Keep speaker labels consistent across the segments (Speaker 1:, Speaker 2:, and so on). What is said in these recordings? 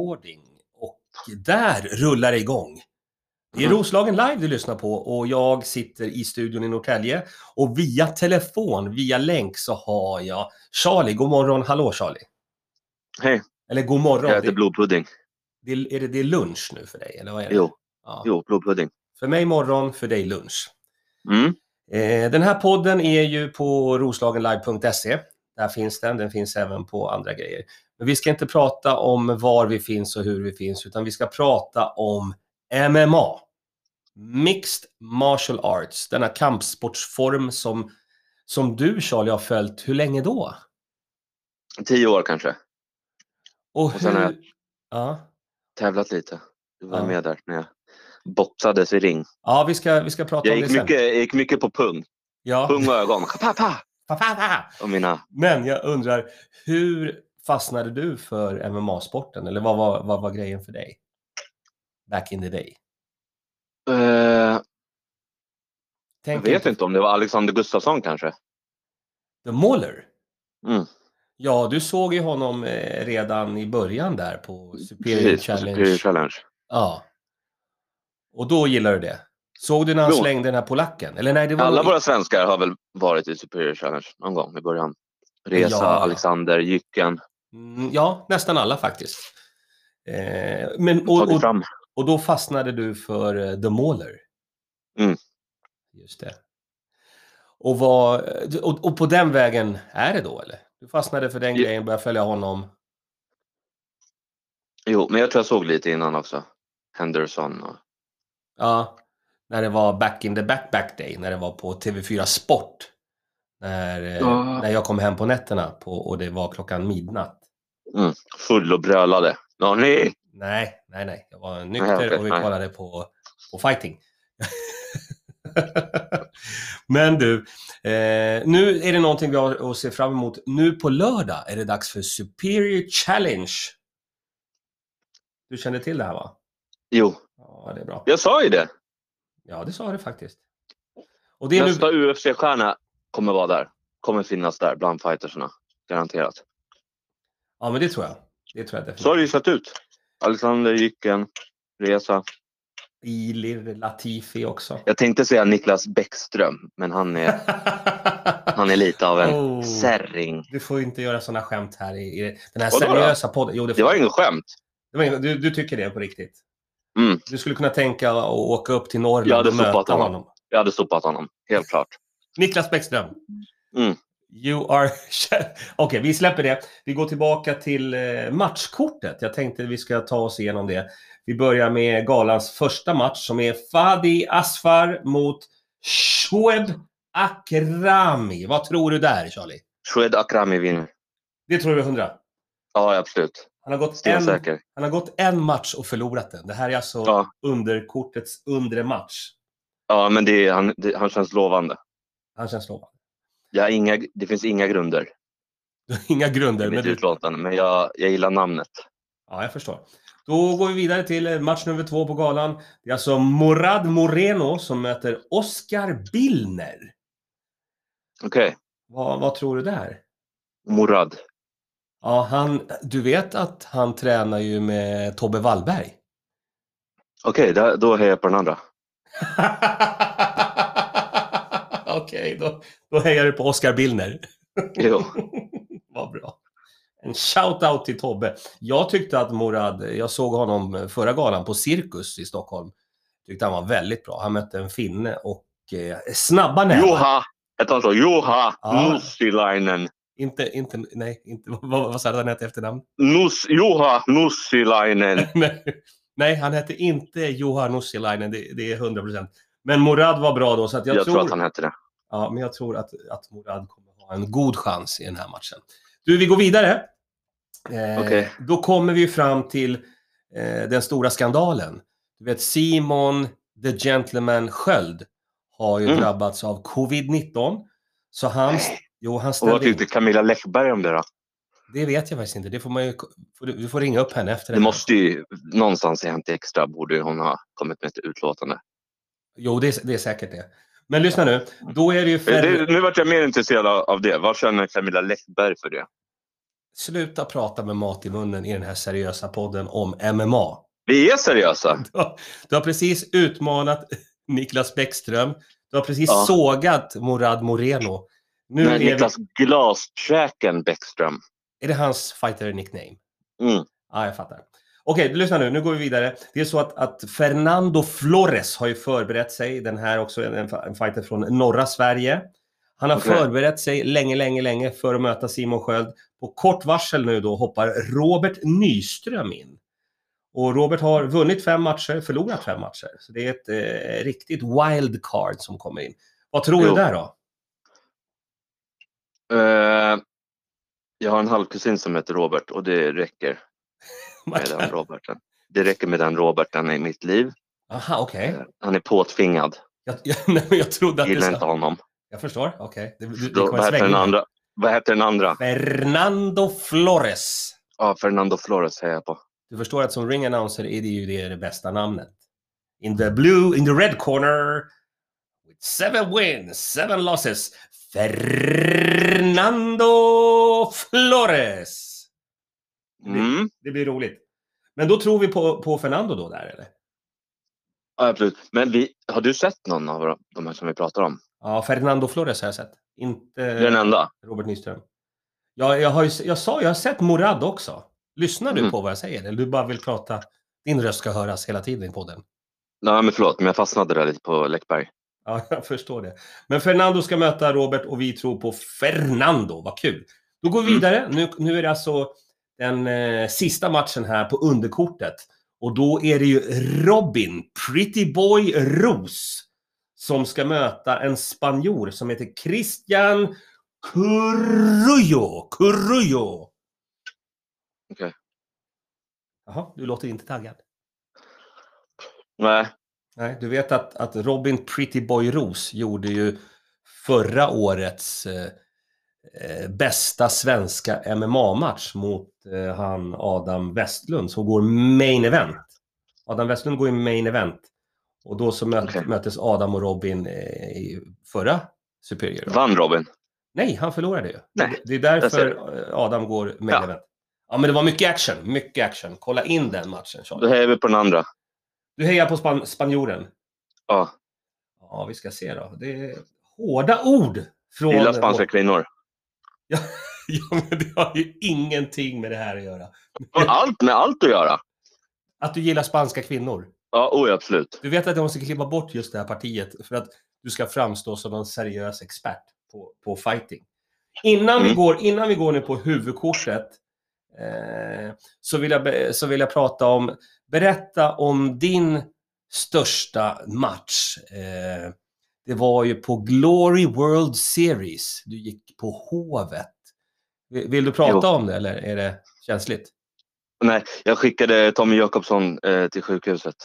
Speaker 1: recording. Och där rullar det igång. Det är
Speaker 2: Mm.
Speaker 1: Roslagen live du lyssnar på och jag sitter i studion i Norrtälje. Och via telefon, via länk så har jag Charlie. God morgon, hallå Charlie.
Speaker 2: Hej,
Speaker 1: Eller god morgon.
Speaker 2: jag äter
Speaker 1: Det,
Speaker 2: blodpudding.
Speaker 1: det, är det, det är lunch nu för dig? Eller vad är det?
Speaker 2: Jo,
Speaker 1: Ja.
Speaker 2: jo, blodpudding.
Speaker 1: För mig morgon, för dig lunch.
Speaker 2: Mm.
Speaker 1: Eh, Den här podden är ju på roslagenlive.se. Där finns den. Den finns även på andra grejer. Men vi ska inte prata om var vi finns och hur vi finns, utan vi ska prata om MMA. Mixed Martial Arts, denna kampsportsform som, som du Charlie har följt. Hur länge då?
Speaker 2: Tio år kanske.
Speaker 1: Och
Speaker 2: Och sen har jag-
Speaker 1: hur... Ja.
Speaker 2: Tävlat lite. Du var
Speaker 1: Ja.
Speaker 2: med där när jag boxades i ring.
Speaker 1: Ja, vi ska, vi ska prata
Speaker 2: Jag
Speaker 1: om det
Speaker 2: gick
Speaker 1: sen.
Speaker 2: mycket, jag gick mycket på pung.
Speaker 1: Ja.
Speaker 2: Pung och ögon. Pa, pa,
Speaker 1: Pa, pa, pa.
Speaker 2: och mina.
Speaker 1: Men jag undrar, hur fastnade du för MMA-sporten? Eller vad var, vad var grejen för dig? Back in the day.
Speaker 2: Eh, jag
Speaker 1: Tänk
Speaker 2: vet inte om det var Alexander Gustafsson kanske.
Speaker 1: The Mauler.
Speaker 2: Mm.
Speaker 1: Ja, du såg ju honom eh, redan i början där på Superior
Speaker 2: Precis, på
Speaker 1: Challenge.
Speaker 2: Superior Challenge.
Speaker 1: Ja. Och då gillade du det. Såg du när han
Speaker 2: Jo.
Speaker 1: slängde den här polacken? Eller nej, det var
Speaker 2: Alla
Speaker 1: nog-
Speaker 2: våra svenskar har väl varit i Superior Challenge någon gång i början. Resa,
Speaker 1: Ja.
Speaker 2: Alexander, Jycken.
Speaker 1: Mm, Ja, nästan alla faktiskt. Eh, men, och,
Speaker 2: Tagit
Speaker 1: och,
Speaker 2: fram.
Speaker 1: Och då fastnade du för eh, The Mauler.
Speaker 2: Mm.
Speaker 1: Just det. Och, vad, eh, och, och på den vägen är det då eller? Du fastnade för den
Speaker 2: Ja.
Speaker 1: grejen, började följa honom.
Speaker 2: Jo, men jag tror jag såg lite innan också. Henderson och...
Speaker 1: Ja. När det var back in the back back day, när det var på TV4 Sport. När, eh,
Speaker 2: Ja.
Speaker 1: när jag kom hem på nätterna på, och det var klockan midnatt.
Speaker 2: Full och brölade. Ja, nej!
Speaker 1: Nej, nej, nej. Jag var
Speaker 2: Nej,
Speaker 1: nykter
Speaker 2: okej,
Speaker 1: och vi
Speaker 2: nej.
Speaker 1: kollade på, på fighting. Men du, eh, nu är det någonting vi har att se fram emot. Nu på lördag är det dags för Superior Challenge. Du kände till det här va?
Speaker 2: Jo,
Speaker 1: Ja, det är bra.
Speaker 2: jag sa ju det.
Speaker 1: Ja, det sa du faktiskt. Och det är nu...
Speaker 2: Nästa UFC-stjärna kommer vara där. Kommer finnas där bland fightersarna. Garanterat.
Speaker 1: Ja, men det tror jag. Det tror jag
Speaker 2: Så har
Speaker 1: definitivt.
Speaker 2: det ju sett ut. Alexander Jycken, Reza.
Speaker 1: Ilir Latifi också.
Speaker 2: Jag tänkte säga Niklas Bäckström, men han är, han är lite av en
Speaker 1: Oh.
Speaker 2: särring.
Speaker 1: Du får ju inte göra sådana skämt här i, i den här
Speaker 2: Vadå då?
Speaker 1: seriösa podden. Jo, det
Speaker 2: Det
Speaker 1: får
Speaker 2: var inget skämt.
Speaker 1: Det var ingen- Du, du tycker det på riktigt?
Speaker 2: Mm.
Speaker 1: Du skulle kunna tänka att åka upp till Norrland
Speaker 2: Jag hade
Speaker 1: och möta
Speaker 2: sopat
Speaker 1: honom.
Speaker 2: honom. Jag hade sopat honom, helt klart.
Speaker 1: Niklas Bäckström.
Speaker 2: Mm.
Speaker 1: You are... Okej, vi släpper det. Vi går tillbaka till eh, matchkortet. Jag tänkte vi ska ta oss igenom det. Vi börjar med galans första match som är Fadi Asfar mot Shoeb Akrami. Vad tror du där, Charlie?
Speaker 2: Shoed Akrami vinner.
Speaker 1: Det tror du är hundra?
Speaker 2: Ja, absolut.
Speaker 1: Han har gått en
Speaker 2: Stensäker.
Speaker 1: Han har gått en match och förlorat den. Det här är alltså
Speaker 2: Ja.
Speaker 1: underkortets undre match.
Speaker 2: Ja, men det, är- han, det, han känns lovande.
Speaker 1: Han känns lovande.
Speaker 2: Jag har inga, det finns inga grunder
Speaker 1: Du har Inga
Speaker 2: i
Speaker 1: grunder, men
Speaker 2: mitt
Speaker 1: du...
Speaker 2: utlåtande, men jag, jag gillar namnet.
Speaker 1: Ja, jag förstår. Då går vi vidare till eh, match nummer två på galan. Det är alltså Morad Moreno som möter Oscar Billner.
Speaker 2: Okej,
Speaker 1: Vad, vad tror du där?
Speaker 2: Morad.
Speaker 1: Ja, han, du vet att han tränar ju med Tobbe Wallberg.
Speaker 2: Okej, där- då hejar jag på den andra.
Speaker 1: Okej, då, då hejar du på Oscar Billner.
Speaker 2: Jo.
Speaker 1: Vad bra. En shout-out till Tobbe. Jag tyckte att Morad, jag såg honom förra galan på Cirkus i Stockholm. Tyckte han var väldigt bra. Han mötte en finne och eh, snabba nävar.
Speaker 2: Juha! Jag tar så. Juha
Speaker 1: Ja.
Speaker 2: Nussilainen.
Speaker 1: Inte, inte, nej, inte, vad, vad sa du han hette i efternamn?
Speaker 2: Nus, Juha Nussilainen.
Speaker 1: nej, nej, han hette inte Johan Nussilainen, det, det är 100 procent. Men Morad var bra då, så att jag,
Speaker 2: Jag, tror... att han hette det.
Speaker 1: Ja, men jag tror att, att Morad kommer ha en god chans i den här matchen. Du, vi går vidare. Eh,
Speaker 2: Okej.
Speaker 1: Då kommer vi ju fram till eh, den stora skandalen. Du vet, Simon the Gentleman Sköld har ju
Speaker 2: Mm.
Speaker 1: drabbats av covid-19. Så han,
Speaker 2: Nej.
Speaker 1: jo, han
Speaker 2: Och vad
Speaker 1: ställde in.
Speaker 2: tyckte Camilla Läckberg om det då?
Speaker 1: Det vet jag faktiskt inte. Det får man ju, får du, du får ringa upp henne efter
Speaker 2: Det måste ju någonstans i Hänt Extra borde ju hon ha kommit med ett utlåtande.
Speaker 1: Jo, det är, det är säkert det. Men lyssna nu. Då är det ju... Fer-
Speaker 2: Det, nu vart jag mer intresserad av, av det. Vad känner Camilla Läckberg för det?
Speaker 1: Sluta prata med mat i munnen i den här seriösa podden om MMA.
Speaker 2: Vi är seriösa.
Speaker 1: Du har precis utmanat Niklas Bäckström. Du har precis
Speaker 2: Ja.
Speaker 1: sågat Morad Moreno. Nu är,
Speaker 2: Nej, Niklas Glaskäken Bäckström.
Speaker 1: vi, är det hans fighter-nickname.
Speaker 2: Mm.
Speaker 1: Ja, jag fattar. Okej, lyssna nu. Nu går vi vidare. Det är så att, att Fernando Flores har ju förberett sig. Den här också en, en fighter från norra Sverige. Han har
Speaker 2: Okej.
Speaker 1: förberett sig länge, länge, länge för att möta Simon Sköld. På kort varsel nu då hoppar Robert Nyström in. Och Robert har vunnit fem matcher, förlorat fem matcher. Så det är ett eh, riktigt wildcard som kommer in. Vad tror du
Speaker 2: Jo.
Speaker 1: där då?
Speaker 2: Eh, jag har en halvkusin som heter Robert och det räcker med den Roberten. Det räcker med den Roberten i mitt liv.
Speaker 1: Aha, okej.
Speaker 2: Eh, Han är påtvingad.
Speaker 1: Jag, jag, nej, men jag trodde att du
Speaker 2: Gillar inte
Speaker 1: sa...
Speaker 2: honom.
Speaker 1: Jag förstår. Okej. Det, det, det
Speaker 2: Då,
Speaker 1: kom en
Speaker 2: vad heter
Speaker 1: sväng
Speaker 2: den
Speaker 1: in.
Speaker 2: andra? Vad heter den andra?
Speaker 1: Fernando Flores.
Speaker 2: Ja, Fernando Flores säger jag på.
Speaker 1: Du förstår att som ring announcer är det ju det, det bästa namnet. In the blue, in the red corner. With seven wins, seven losses. Fernando Flores.
Speaker 2: Mm.
Speaker 1: Det blir roligt. Men då tror vi på, på Fernando då där eller?
Speaker 2: Ja, absolut. Men vi, har du sett någon av de här som vi pratar om?
Speaker 1: Ja, Fernando Flores har jag sett. Inte
Speaker 2: Det är den enda.
Speaker 1: Robert Nyström. Jag, jag, har ju, s- jag sa, jag har sett Morad också. Lyssnar du
Speaker 2: Mm.
Speaker 1: på vad jag säger? Eller du bara vill prata? Din röst ska höras hela tiden i podden.
Speaker 2: Nej, men förlåt, men jag fastnade där lite på Läckberg.
Speaker 1: Ja, jag förstår det. Men Fernando ska möta Robert och vi tror på Fernando. Vad kul! Då går vi vidare. Nu, nu är det alltså den eh, sista matchen här på underkortet. Och då är det ju Robin Pretty Boy Ros som ska möta en spanjor som heter Christian Currullo. Currullo.
Speaker 2: Okej.
Speaker 1: Jaha, du låter inte taggad.
Speaker 2: Nej,
Speaker 1: Nej, du vet att, att Robin Pretty Boy Ros gjorde ju förra årets eh, eh, bästa svenska MMA-match mot eh, han Adam Westlund som går main event. Adam Westlund går i main event. Och då så möt,
Speaker 2: Okej.
Speaker 1: möttes Adam och Robin eh, i förra Superior. då.
Speaker 2: vann Robin?
Speaker 1: Nej, han förlorade ju.
Speaker 2: Nej,
Speaker 1: det är
Speaker 2: jag ser
Speaker 1: därför eh, Adam går main
Speaker 2: Ja.
Speaker 1: event. Ja, men det var mycket action. Mycket action. Kolla in den matchen,
Speaker 2: Då
Speaker 1: Charlie.
Speaker 2: hejar vi på den andra.
Speaker 1: Du hejar på span- spanjoren.
Speaker 2: Ja,
Speaker 1: Ja, vi ska se då. Det är hårda ord från...
Speaker 2: gillar spanska kvinnor.
Speaker 1: Ja, men det har ju ingenting med det här att göra.
Speaker 2: Har allt med allt att göra.
Speaker 1: Att du gillar spanska kvinnor.
Speaker 2: Ja, oj, absolut.
Speaker 1: Du vet att jag måste klippa bort just det här partiet för att du ska framstå som en seriös expert på, på fighting. Innan, vi
Speaker 2: Mm.
Speaker 1: går, innan vi går nu på huvudkortet eh, så, vill jag, be- så vill jag prata om, berätta om din största match. Eh, det var ju på Glory World Series. Du gick på Hovet. Vill, vill du prata om det eller är det känsligt?
Speaker 2: Nej, jag skickade Tommy Jakobsson eh, till sjukhuset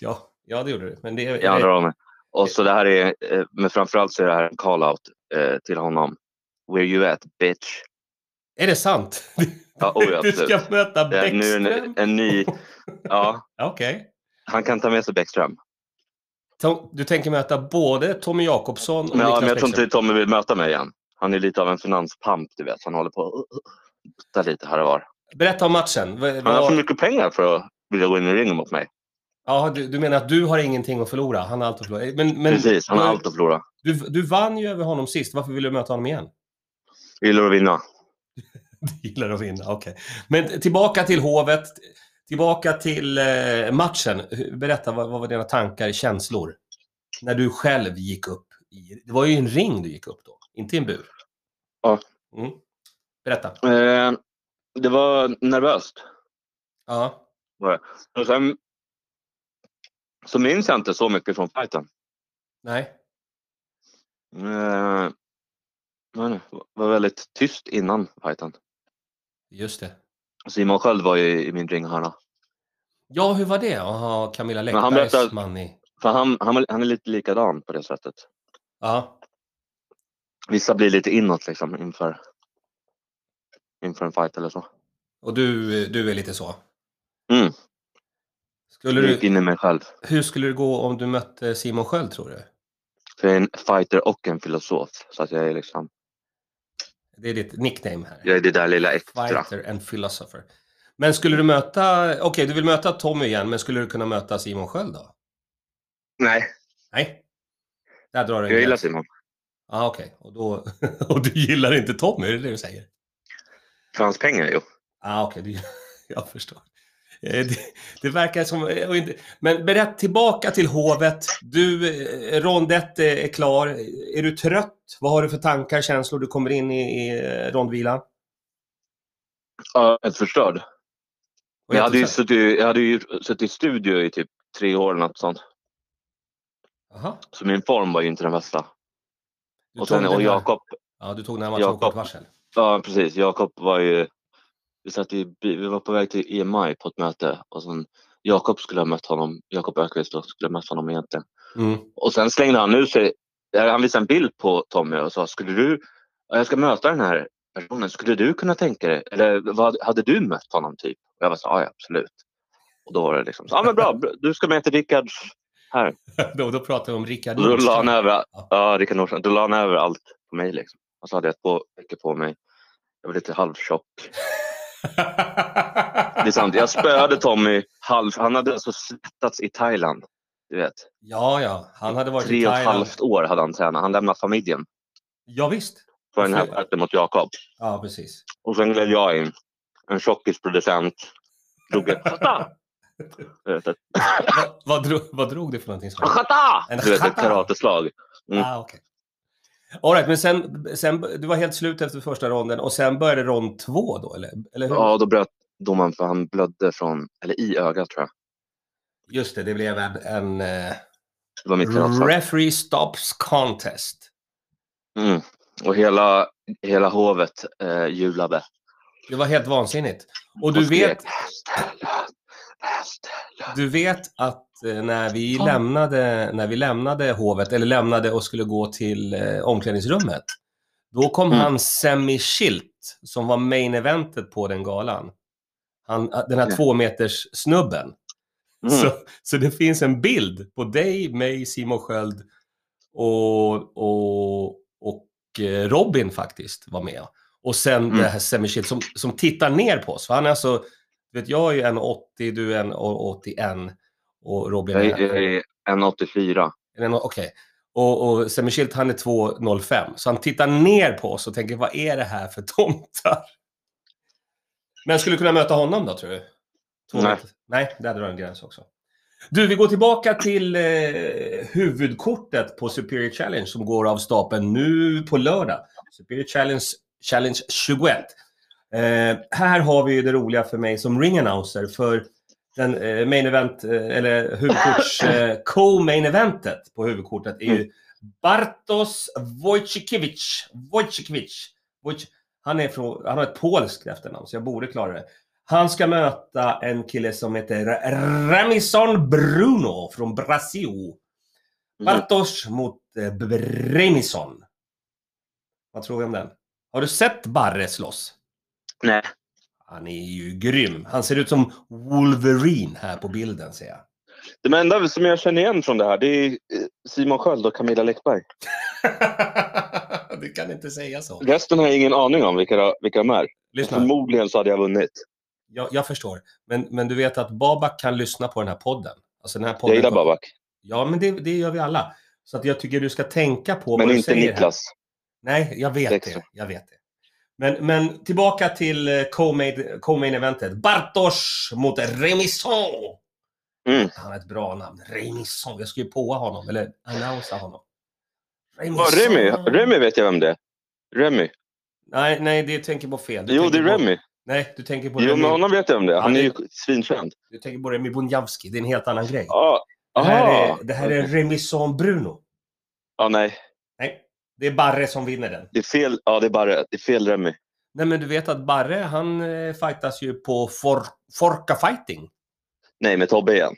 Speaker 1: Ja, ja det gjorde du. Men det,
Speaker 2: i andra ramen. Och så det här är, eh, men framförallt så är det här en call-out eh, till honom. Where you at bitch?
Speaker 1: Är det sant?
Speaker 2: Ja, oj,
Speaker 1: du ska
Speaker 2: absolut.
Speaker 1: möta
Speaker 2: Det är
Speaker 1: Bäckström?
Speaker 2: Eh, nu en, en ny, ja,
Speaker 1: Okej.
Speaker 2: han kan ta med sig Bäckström.
Speaker 1: Tom- Du tänker möta både Tommy Jakobsson och
Speaker 2: Men, ja,
Speaker 1: Niklas
Speaker 2: men jag tror
Speaker 1: Bäckström?
Speaker 2: inte Tommy vill möta mig igen. Han är lite av en finanspamp, du vet. Han håller på att putta lite här och var.
Speaker 1: Berätta om matchen. V-
Speaker 2: Han har för
Speaker 1: vad-
Speaker 2: mycket pengar för att vilja gå in i ringen mot mig.
Speaker 1: Ja, du, du menar att du har ingenting att förlora? Han har allt att förlora. Men, men
Speaker 2: Precis, han har allt att förlora.
Speaker 1: du, du vann ju över honom sist. Varför vill du möta honom igen?
Speaker 2: Gillar att vinna.
Speaker 1: Du gillar att vinna, okej. Men tillbaka till Hovet. Tillbaka till eh, matchen. Hur- Berätta, vad, vad var dina tankar, känslor? När du själv gick upp. I, det var ju en ring du gick upp då, inte i en bur.
Speaker 2: Ja.
Speaker 1: Mm. Berätta.
Speaker 2: Eh, det var nervöst.
Speaker 1: Ja.
Speaker 2: Och sen så minns jag inte så mycket från fighten.
Speaker 1: Nej.
Speaker 2: Eh, men, var väldigt tyst innan fighten.
Speaker 1: Just det.
Speaker 2: Simon själv var ju i min ringhörna.
Speaker 1: Ja, hur var det? Aha, Camilla
Speaker 2: Men han
Speaker 1: Läckbergs
Speaker 2: berättar-
Speaker 1: man i...
Speaker 2: För han, han, han är lite likadan på det sättet.
Speaker 1: Ja,
Speaker 2: Vissa blir lite inåt liksom inför, inför en fight eller så.
Speaker 1: och du, du är lite så?
Speaker 2: Mm.
Speaker 1: Skulle
Speaker 2: Jag gick
Speaker 1: du,
Speaker 2: in i mig själv.
Speaker 1: hur skulle det gå om du mötte Simon Sköld, tror du?
Speaker 2: För jag är en fighter och en filosof. Så att jag är liksom
Speaker 1: Det är ditt nickname här.
Speaker 2: Jag är det där lilla extra.
Speaker 1: Fighter and philosopher. Men skulle du möta, okej du vill möta Tommy igen, men skulle du kunna möta Simon Sköld då?
Speaker 2: Nej,
Speaker 1: Nej. Där drar du en
Speaker 2: jag gillar
Speaker 1: gräns.
Speaker 2: Simon.
Speaker 1: Ja, ah, okej. Och, då- och du gillar inte Tommy, är det det du säger?
Speaker 2: För hans pengar, jo.
Speaker 1: Ah, okej, du- jag förstår. Eh, Det, det verkar som... eh, och inte- Men berätt tillbaka till hovet. Du, eh, rondett eh, är klar. Är du trött? Vad har du för tankar, känslor? Du kommer in i, i eh, rondvilan.
Speaker 2: Ja, helt förstörd.
Speaker 1: Och
Speaker 2: Jag hade, ju
Speaker 1: jättetrött.
Speaker 2: suttit, jag hade ju suttit i studio i typ tre år eller något sånt.
Speaker 1: Jaha.
Speaker 2: Så min form var ju inte den bästa.
Speaker 1: Du
Speaker 2: Och,
Speaker 1: tog
Speaker 2: sen,
Speaker 1: den
Speaker 2: och
Speaker 1: här-
Speaker 2: Jakob,
Speaker 1: Ja, du tog den här matchen med
Speaker 2: Jakob.
Speaker 1: kort varsel.
Speaker 2: ja precis, Jakob var ju... Vi, satt i, bi- vi var på väg till EMI på ett möte och sen Jakob skulle ha mött honom, Jakob Ökvist då, skulle ha mött honom egentligen.
Speaker 1: Mm.
Speaker 2: Och sen slängde han ut sig. eh, Han visade en bild på Tommy och sa, skulle du, ja, jag ska möta den här personen, skulle du kunna tänka dig, eller vad, hade du mött honom typ? Och jag var så, "Ja, ja absolut. Och då var det liksom, så, ja men bra, bra, du ska med till Rickard.
Speaker 1: då, då pratar vi om Rickard
Speaker 2: Och Då la han över,
Speaker 1: Ja.
Speaker 2: ja Rickard Nordström, då la han över allt på mig liksom. Och så hade jag två veckor på mig. Jag var lite halvtjock. Det är sant, jag spöade Tommy halv, han hade alltså svettats i Thailand. Du vet,
Speaker 1: Ja, ja. Han hade varit i
Speaker 2: tre och ett
Speaker 1: Thailand.
Speaker 2: halvt år hade han tränat. Han lämnade familjen
Speaker 1: Ja, visst.
Speaker 2: för den här
Speaker 1: Varför?
Speaker 2: fighten mot Jakob.
Speaker 1: Ja, precis.
Speaker 2: Och sen gled jag in. En tjockisproducent. Drog ett chata! Du vet, ett
Speaker 1: vad, vad, drog, vad drog du för någonting? sa du?
Speaker 2: chata!
Speaker 1: En
Speaker 2: Du vet, ett
Speaker 1: chata.
Speaker 2: karateslag. Mm.
Speaker 1: Ah, okay. All right, men sen, sen, du var helt slut efter första ronden och sen började rond två då, eller? eller hur?
Speaker 2: Ja, då bröt domaren för han blödde från, eller i ögat tror jag.
Speaker 1: Just det, det blev en, en eh,
Speaker 2: Det var mitt karateslag.
Speaker 1: referee stops contest.
Speaker 2: Mm. Och hela, hela hovet eh, jublade.
Speaker 1: Det var helt vansinnigt. Och
Speaker 2: Och
Speaker 1: du
Speaker 2: skrek,
Speaker 1: vet,
Speaker 2: "Västerlund! Västerlund!"
Speaker 1: du vet att eh, när vi,
Speaker 2: Ja.
Speaker 1: lämnade, när vi lämnade hovet, eller lämnade och skulle gå till eh, omklädningsrummet, då kom
Speaker 2: Mm.
Speaker 1: han Semi Schilt, som var main eventet på den galan. Han, ah, den här
Speaker 2: Ja.
Speaker 1: två meters snubben.
Speaker 2: Mm.
Speaker 1: Så, så det finns en bild på dig, mig, Simon Sköld och, och, och eh, Robin faktiskt var med. Och sen
Speaker 2: Mm.
Speaker 1: det här Semichil som, som tittar ner på oss. För han är alltså, du vet, jag är ju 1,80, du är 1,81 och Robin
Speaker 2: Jag
Speaker 1: är...
Speaker 2: är- jag är 1,84.
Speaker 1: är en- Okej. Och, och Semichil han är 2,05. Så han tittar ner på oss och tänker, vad är det här för tomtar? Men skulle du kunna möta honom då, tror du? Två
Speaker 2: Nej.
Speaker 1: meter- Nej, där drar en gräns också. Du, vi går tillbaka till eh, huvudkortet på Superior Challenge som går av stapeln nu på lördag. Superior Challenge, Challenge 21. Eh, här har vi ju det roliga för mig som ring announcer för den eh, main event, eh, eller huvudkorts, eh, co-main eventet på huvudkortet är ju Bartos Wojcikiewicz. Wojcikiewicz. Wojc- Han, är från, han har ett polskt efternamn, så jag borde klara det. Han ska möta en kille som heter Ra- Ramison Bruno från Brasil.
Speaker 2: Mm.
Speaker 1: Bartos mot eh, Bremison. Vad tror vi om den? Har du sett Barre slåss?
Speaker 2: Nej.
Speaker 1: Han är ju grym. Han ser ut som Wolverine här på bilden ser jag.
Speaker 2: De enda som jag känner igen från det här det är eh, Simon Sköld och Camilla Läckberg.
Speaker 1: du kan inte säga så.
Speaker 2: Resten har jag ingen aning om vilka, vilka de är.
Speaker 1: Lyssna,
Speaker 2: Förmodligen så hade jag vunnit.
Speaker 1: jag, jag förstår. Men, men du vet att Babak kan lyssna på den här podden. Alltså den här podden
Speaker 2: Jag gillar Babak,
Speaker 1: Ja, men det, det gör vi alla. Så att jag tycker du ska tänka på vad
Speaker 2: men
Speaker 1: du
Speaker 2: inte
Speaker 1: säger här.
Speaker 2: Niklas.
Speaker 1: Nej, jag vet
Speaker 2: Extra.
Speaker 1: det. Jag vet det. Men, men tillbaka till eh, co-main co-main eventet. Bartosz mot Remison.
Speaker 2: Mm.
Speaker 1: Han har ett bra namn. Remison. Jag ska ju påa honom, eller annonsa honom. Remison.
Speaker 2: Ja, Remy. Remy vet jag vem det är. Remy.
Speaker 1: Nej, nej, det tänker på fel. Du
Speaker 2: Jo, det
Speaker 1: tänker
Speaker 2: är
Speaker 1: på,
Speaker 2: Remy.
Speaker 1: Nej, du tänker på
Speaker 2: Jo,
Speaker 1: Remy.
Speaker 2: men honom vet jag vem det är. Han
Speaker 1: Ja,
Speaker 2: är
Speaker 1: det-
Speaker 2: ju svinkänd.
Speaker 1: Du tänker på Remy Bunjavski. Det är en helt annan grej.
Speaker 2: Ja.
Speaker 1: Det här
Speaker 2: Aha.
Speaker 1: är, det här är Remison Bruno.
Speaker 2: Ja, nej.
Speaker 1: Nej, det är Barre som vinner den.
Speaker 2: Det är fel. Ja, det är bara det är fel Remy.
Speaker 1: Nej, men du vet att Barre, han eh, fightas ju på for, Forka Fighting.
Speaker 2: Nej, med Tobbe igen.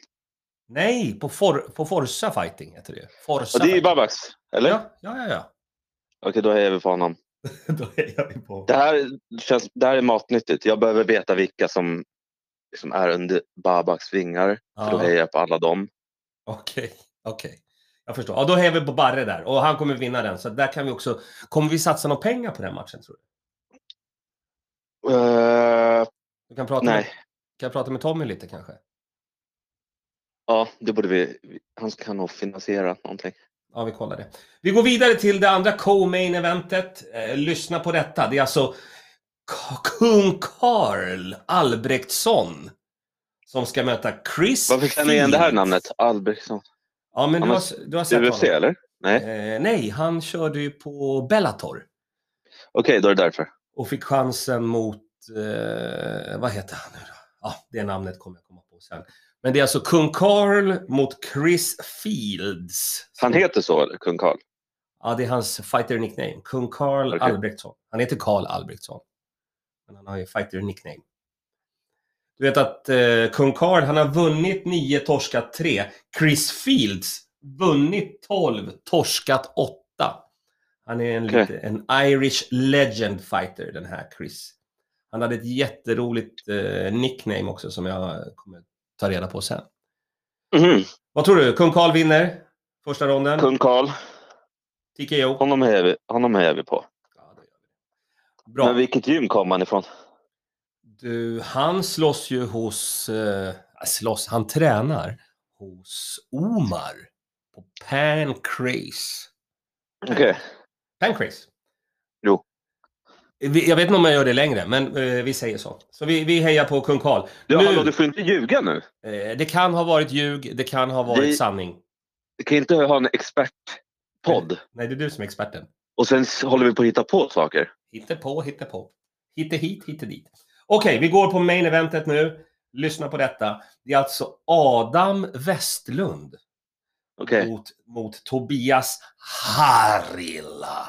Speaker 1: Nej, på, for, på Forza Fighting heter det ju. Forza
Speaker 2: Ja, det är ju
Speaker 1: Fighting.
Speaker 2: Babaks. Eller?
Speaker 1: Ja, ja, ja. ja.
Speaker 2: Okej, då hejar vi på honom.
Speaker 1: Då hejar vi på.
Speaker 2: Det här, känns, det här är matnyttigt. Jag behöver veta vilka som, som är under Babaks vingar. För då
Speaker 1: Ja,
Speaker 2: hejar jag på alla dem.
Speaker 1: Okej, okej. Jag förstår. Ja, då hejar vi på Barre där och han kommer vinna den. Så där kan vi också... Kommer vi satsa några pengar på den matchen tror du?
Speaker 2: Eh,
Speaker 1: Du kan prata, med,
Speaker 2: nej.
Speaker 1: kan jag prata med Tommy lite kanske?
Speaker 2: Ja, det borde vi. vi- Han kan nog finansiera någonting.
Speaker 1: Ja, vi kollar det. Vi går vidare till det andra co-main eventet. Eh, lyssna på detta. Det är alltså K- kung Karl Albrektsson som ska möta Chris
Speaker 2: Varför känner jag igen det här
Speaker 1: Fields.
Speaker 2: namnet? Albrektsson.
Speaker 1: Ja, men du
Speaker 2: Han
Speaker 1: har,
Speaker 2: har-
Speaker 1: s- du har sett
Speaker 2: UFC
Speaker 1: honom.
Speaker 2: eller? Nej.
Speaker 1: Eh, nej, han körde ju på Bellator
Speaker 2: Okej, då är det därför.
Speaker 1: och fick chansen mot, eh, vad heter han nu då? Ja, det namnet kommer jag komma på sen. Men det är alltså kung Karl mot Chris Fields.
Speaker 2: Han heter så, eller? Kung Karl?
Speaker 1: Ja, det är hans fighter-nickname. Kung Karl
Speaker 2: Okej.
Speaker 1: Albrektsson. Han heter Karl Albrektsson. Men han har ju fighter-nickname. Du vet att eh, Kung Karl, han har vunnit 9, torskat 3. Chris Fields, vunnit 12, torskat 8. Han är en,
Speaker 2: Okej.
Speaker 1: lite, en Irish legend fighter, den här Chris. Han hade ett jätteroligt eh, nickname också som jag kommer ta reda på sen.
Speaker 2: Mhm.
Speaker 1: Vad tror du? Kung Karl vinner första ronden?
Speaker 2: Kung Karl.
Speaker 1: TKO?
Speaker 2: Honom hejar vi, honom hejar vi på.
Speaker 1: Ja, det gör vi. Bra.
Speaker 2: Men vilket gym kom han ifrån?
Speaker 1: Du, han slåss ju hos... Eh, slåss, han tränar hos Omar på Pancrase.
Speaker 2: Okej.
Speaker 1: Pancrase?
Speaker 2: Jo.
Speaker 1: Vi, jag vet inte om jag gör det längre, men eh, vi säger så. Så vi, vi hejar på kung Karl.
Speaker 2: Du,
Speaker 1: Nu-
Speaker 2: hallå, du får inte ljuga nu.
Speaker 1: Eh, det kan ha varit ljug, det kan ha varit
Speaker 2: Vi-
Speaker 1: sanning.
Speaker 2: Du kan inte ha en expertpodd
Speaker 1: Nej, det är du som är experten.
Speaker 2: och sen s- håller vi på att hitta på saker.
Speaker 1: Hitta på, hitta på. Hitta hit, hitta dit. Okej, vi går på main eventet nu. Lyssna på detta. Det är alltså Adam Westlund
Speaker 2: Okej.
Speaker 1: mot, mot Tobias Harila.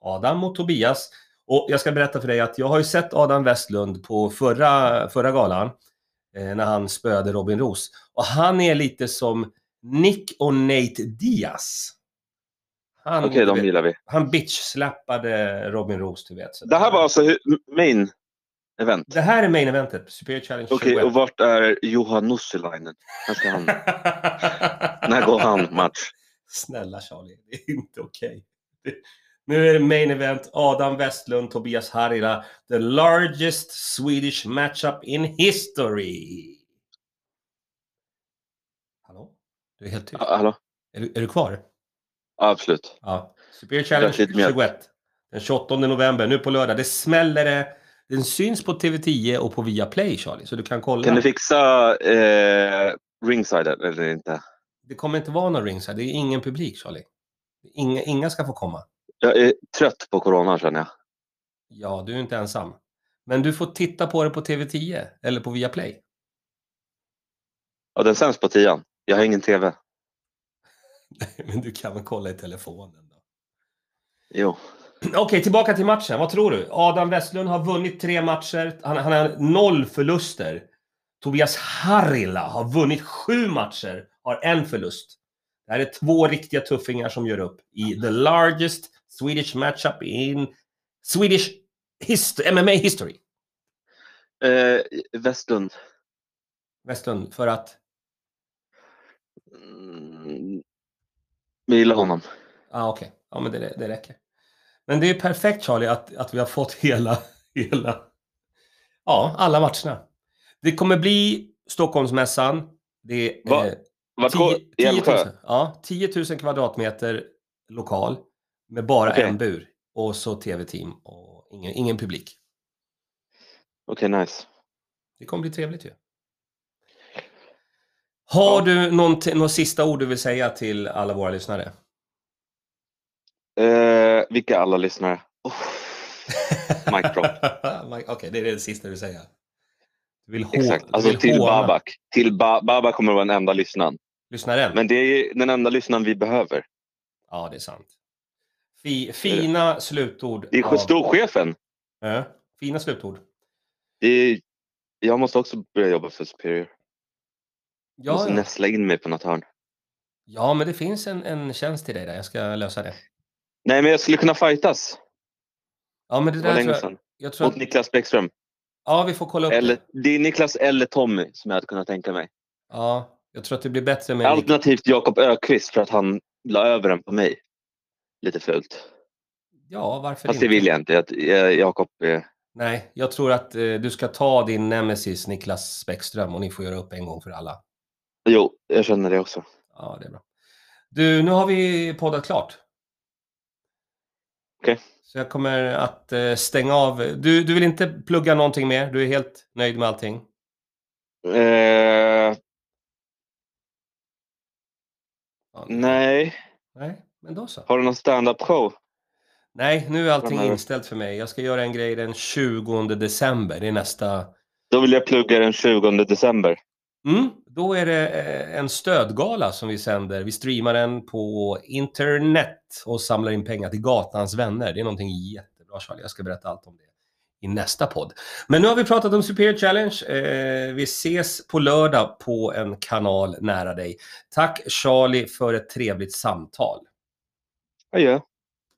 Speaker 1: Adam mot Tobias. Och jag ska berätta för dig att jag har ju sett Adam Westlund på förra, förra galan eh, när han spöade Robin Roos. Och han är lite som Nick och Nate Diaz. Han,
Speaker 2: Okej,
Speaker 1: du
Speaker 2: de
Speaker 1: vet,
Speaker 2: gillar vi.
Speaker 1: han bitch-slappade Robin Roos, du vet. sådär.
Speaker 2: Det här var alltså hu- main event.
Speaker 1: Det här är main eventet, Superior Challenge
Speaker 2: Okej,
Speaker 1: 21.
Speaker 2: och vart är Johan Nussilainen? När, ska han, när går han match?
Speaker 1: Snälla Charlie, det är inte okej. Det- Nu är det main event. Adam Westlund, Tobias Harila. The largest Swedish matchup in history. Hallå? Du är helt tyst.
Speaker 2: Ja, Ah, Hallå?
Speaker 1: Är, du, är du kvar?
Speaker 2: Ja, Absolut.
Speaker 1: Ja. Superior
Speaker 2: Drack lite
Speaker 1: Challenge
Speaker 2: mjölk.
Speaker 1: 21. Den 28 november, nu på lördag. Det smäller det. Den syns på TV10 och på Viaplay, Charlie. Så du kan kolla.
Speaker 2: Kan du fixa eh, ringside eller inte?
Speaker 1: Det kommer inte vara någon rings här. Det är ingen publik, Charlie. Inga, inga ska få komma.
Speaker 2: Jag är trött på corona känner jag.
Speaker 1: Ja, du är inte ensam. Men du får titta på det på TV10 eller på Viaplay.
Speaker 2: Ja, den sänds på tian. Jag har ingen tv.
Speaker 1: Men du kan väl kolla i telefonen då.
Speaker 2: Jo.
Speaker 1: Okej, tillbaka till matchen. Vad tror du? Adam Westlund har vunnit tre matcher. Han, han har noll förluster. Tobias Harila har vunnit sju matcher, har en förlust. Det här är två riktiga tuffingar som gör upp i the largest Swedish matchup in Swedish hist- MMA history.
Speaker 2: Eh, Westlund.
Speaker 1: Westlund, för att...
Speaker 2: Mm, vi gillar honom.
Speaker 1: Ah, okej. Ja, men det, det räcker. Men det är ju perfekt Charlie att, att vi har fått hela, hela, ja, alla matcherna. Det kommer bli Stockholmsmässan. Det
Speaker 2: Va?
Speaker 1: är eh,
Speaker 2: Vart går
Speaker 1: 10, 10, 000,
Speaker 2: Älvsjö?
Speaker 1: ja, 10 000 kvadratmeter lokal med bara
Speaker 2: Okej.
Speaker 1: en bur och så tv-team och ingen, ingen publik.
Speaker 2: Okej, nice.
Speaker 1: Det kommer bli trevligt ju. Har
Speaker 2: Ja.
Speaker 1: du något, något sista ord du vill säga till alla våra lyssnare?
Speaker 2: Eh, vilka alla lyssnare? Oh, Mic drop.
Speaker 1: Mike- Okej, det är det sista du säger. Du vill, hå-
Speaker 2: exakt. Alltså
Speaker 1: du vill
Speaker 2: till
Speaker 1: håna
Speaker 2: Babak. Till ba- Babak kommer att vara den enda lyssnaren.
Speaker 1: lyssnaren.
Speaker 2: Men det är den enda lyssnaren vi behöver.
Speaker 1: Ja, det är sant. Fi, fina slutord.
Speaker 2: Eh, Det är
Speaker 1: av-
Speaker 2: storchefen.
Speaker 1: Ja, fina slutord.
Speaker 2: Det är... Jag måste också börja jobba för Superior. Jag
Speaker 1: Ja,
Speaker 2: måste
Speaker 1: ja.
Speaker 2: nästla in mig på något hörn.
Speaker 1: ja, men det finns en, en tjänst till dig där. Jag ska lösa det.
Speaker 2: Nej, men jag skulle kunna fightas.
Speaker 1: Ja, men det
Speaker 2: Det
Speaker 1: där
Speaker 2: var
Speaker 1: tror
Speaker 2: länge
Speaker 1: jag,
Speaker 2: sedan.
Speaker 1: jag tror
Speaker 2: Mot
Speaker 1: att,
Speaker 2: Niklas Bäckström.
Speaker 1: Ja, vi får kolla upp
Speaker 2: Eller,
Speaker 1: det.
Speaker 2: det är Niklas eller Tommy som jag hade kunnat tänka mig.
Speaker 1: Ja, jag tror att det blir bättre med...
Speaker 2: Alternativt Jakob Ökvist för att han la över den på mig. Lite fult.
Speaker 1: Ja, varför
Speaker 2: Fast
Speaker 1: inte?
Speaker 2: det vill jag inte. Jag- jag- Jakob är
Speaker 1: Nej, jag tror att eh, du ska ta din nemesis Niklas Bäckström och ni får göra upp en gång för alla.
Speaker 2: Jo, jag känner det också.
Speaker 1: Ja, det är bra. Du, nu har vi poddat klart.
Speaker 2: Okej.
Speaker 1: Så jag kommer att eh, stänga av. Du, du vill inte plugga någonting mer? Du är helt nöjd med allting?
Speaker 2: Eh,
Speaker 1: Ja.
Speaker 2: nej.
Speaker 1: Nej, men då så.
Speaker 2: Har du någon stand-up show?
Speaker 1: Nej, nu är allting
Speaker 2: Framöver.
Speaker 1: inställt för mig. Jag ska göra en grej den 20 december. Det är nästa...
Speaker 2: Då vill jag plugga den 20 december.
Speaker 1: Mm, då är det eh, en stödgala som vi sänder. Vi streamar den på internet och samlar in pengar till Gatans vänner. Det är någonting jättebra, Charlie. Jag ska berätta allt om det i nästa podd. Men nu har vi pratat om Superior Challenge. Eh, vi ses på lördag på en kanal nära dig. Tack Charlie för ett trevligt samtal.
Speaker 2: Adjö.